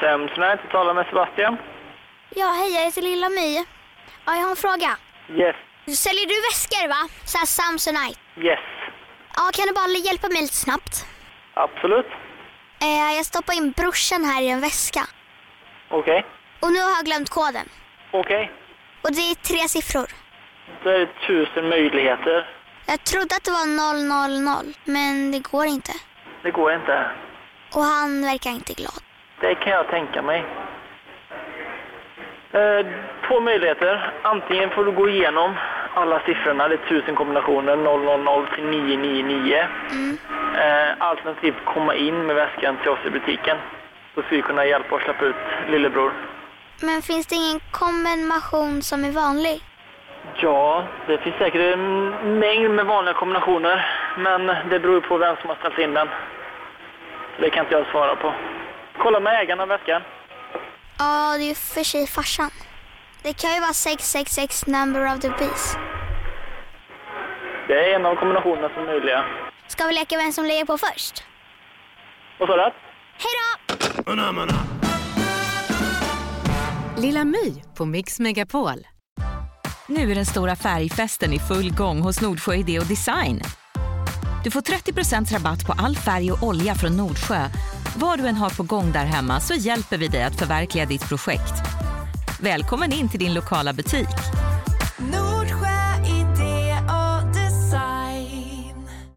Sömsnät, du talar med Sebastian. Ja, hej, jag heter Lilla My. Ja, jag har en fråga. Yes, Säljer du väskor, va? Så här Samsonite. yes, Ja, kan du bara hjälpa mig lite snabbt? absolut. Eh, jag stoppar in brorsan här i en väska. Okej, Och nu har jag glömt koden. okej. Och det är tre siffror. Då är det tusen möjligheter. Jag trodde att det var 000, men det går inte. Det går inte. Och han verkar inte glad. Det kan jag tänka mig. Eh, två möjligheter. Antingen får du gå igenom alla siffrorna, det är tusen kombinationer, 000 till 999. Mm. Eh, alternativt komma in med väskan till oss i butiken. Då skulle vi kunna hjälpa och släppa ut lillebror. Men finns det ingen kombination som är vanlig? Ja, det finns säkert en mängd med vanliga kombinationer. Men det beror på vem som har ställt in den. Det kan inte jag svara på. Kolla med ägaren av väskan. Ja, det är ju för sig farsan. Det kan ju vara 666 number of the beast. Det är en av kombinationerna som är möjliga. Ska vi leka vem som lägger på först? Vad sa du? Hej då! Lilla My på Mix Megapol. Nu är den stora färgfesten i full gång hos Nordsjö Idé och Design. Du får 30 rabatt på all färg och olja från Nordsjö. Vad du än har på gång där hemma så hjälper vi dig att förverkliga ditt projekt. Välkommen in till din lokala butik.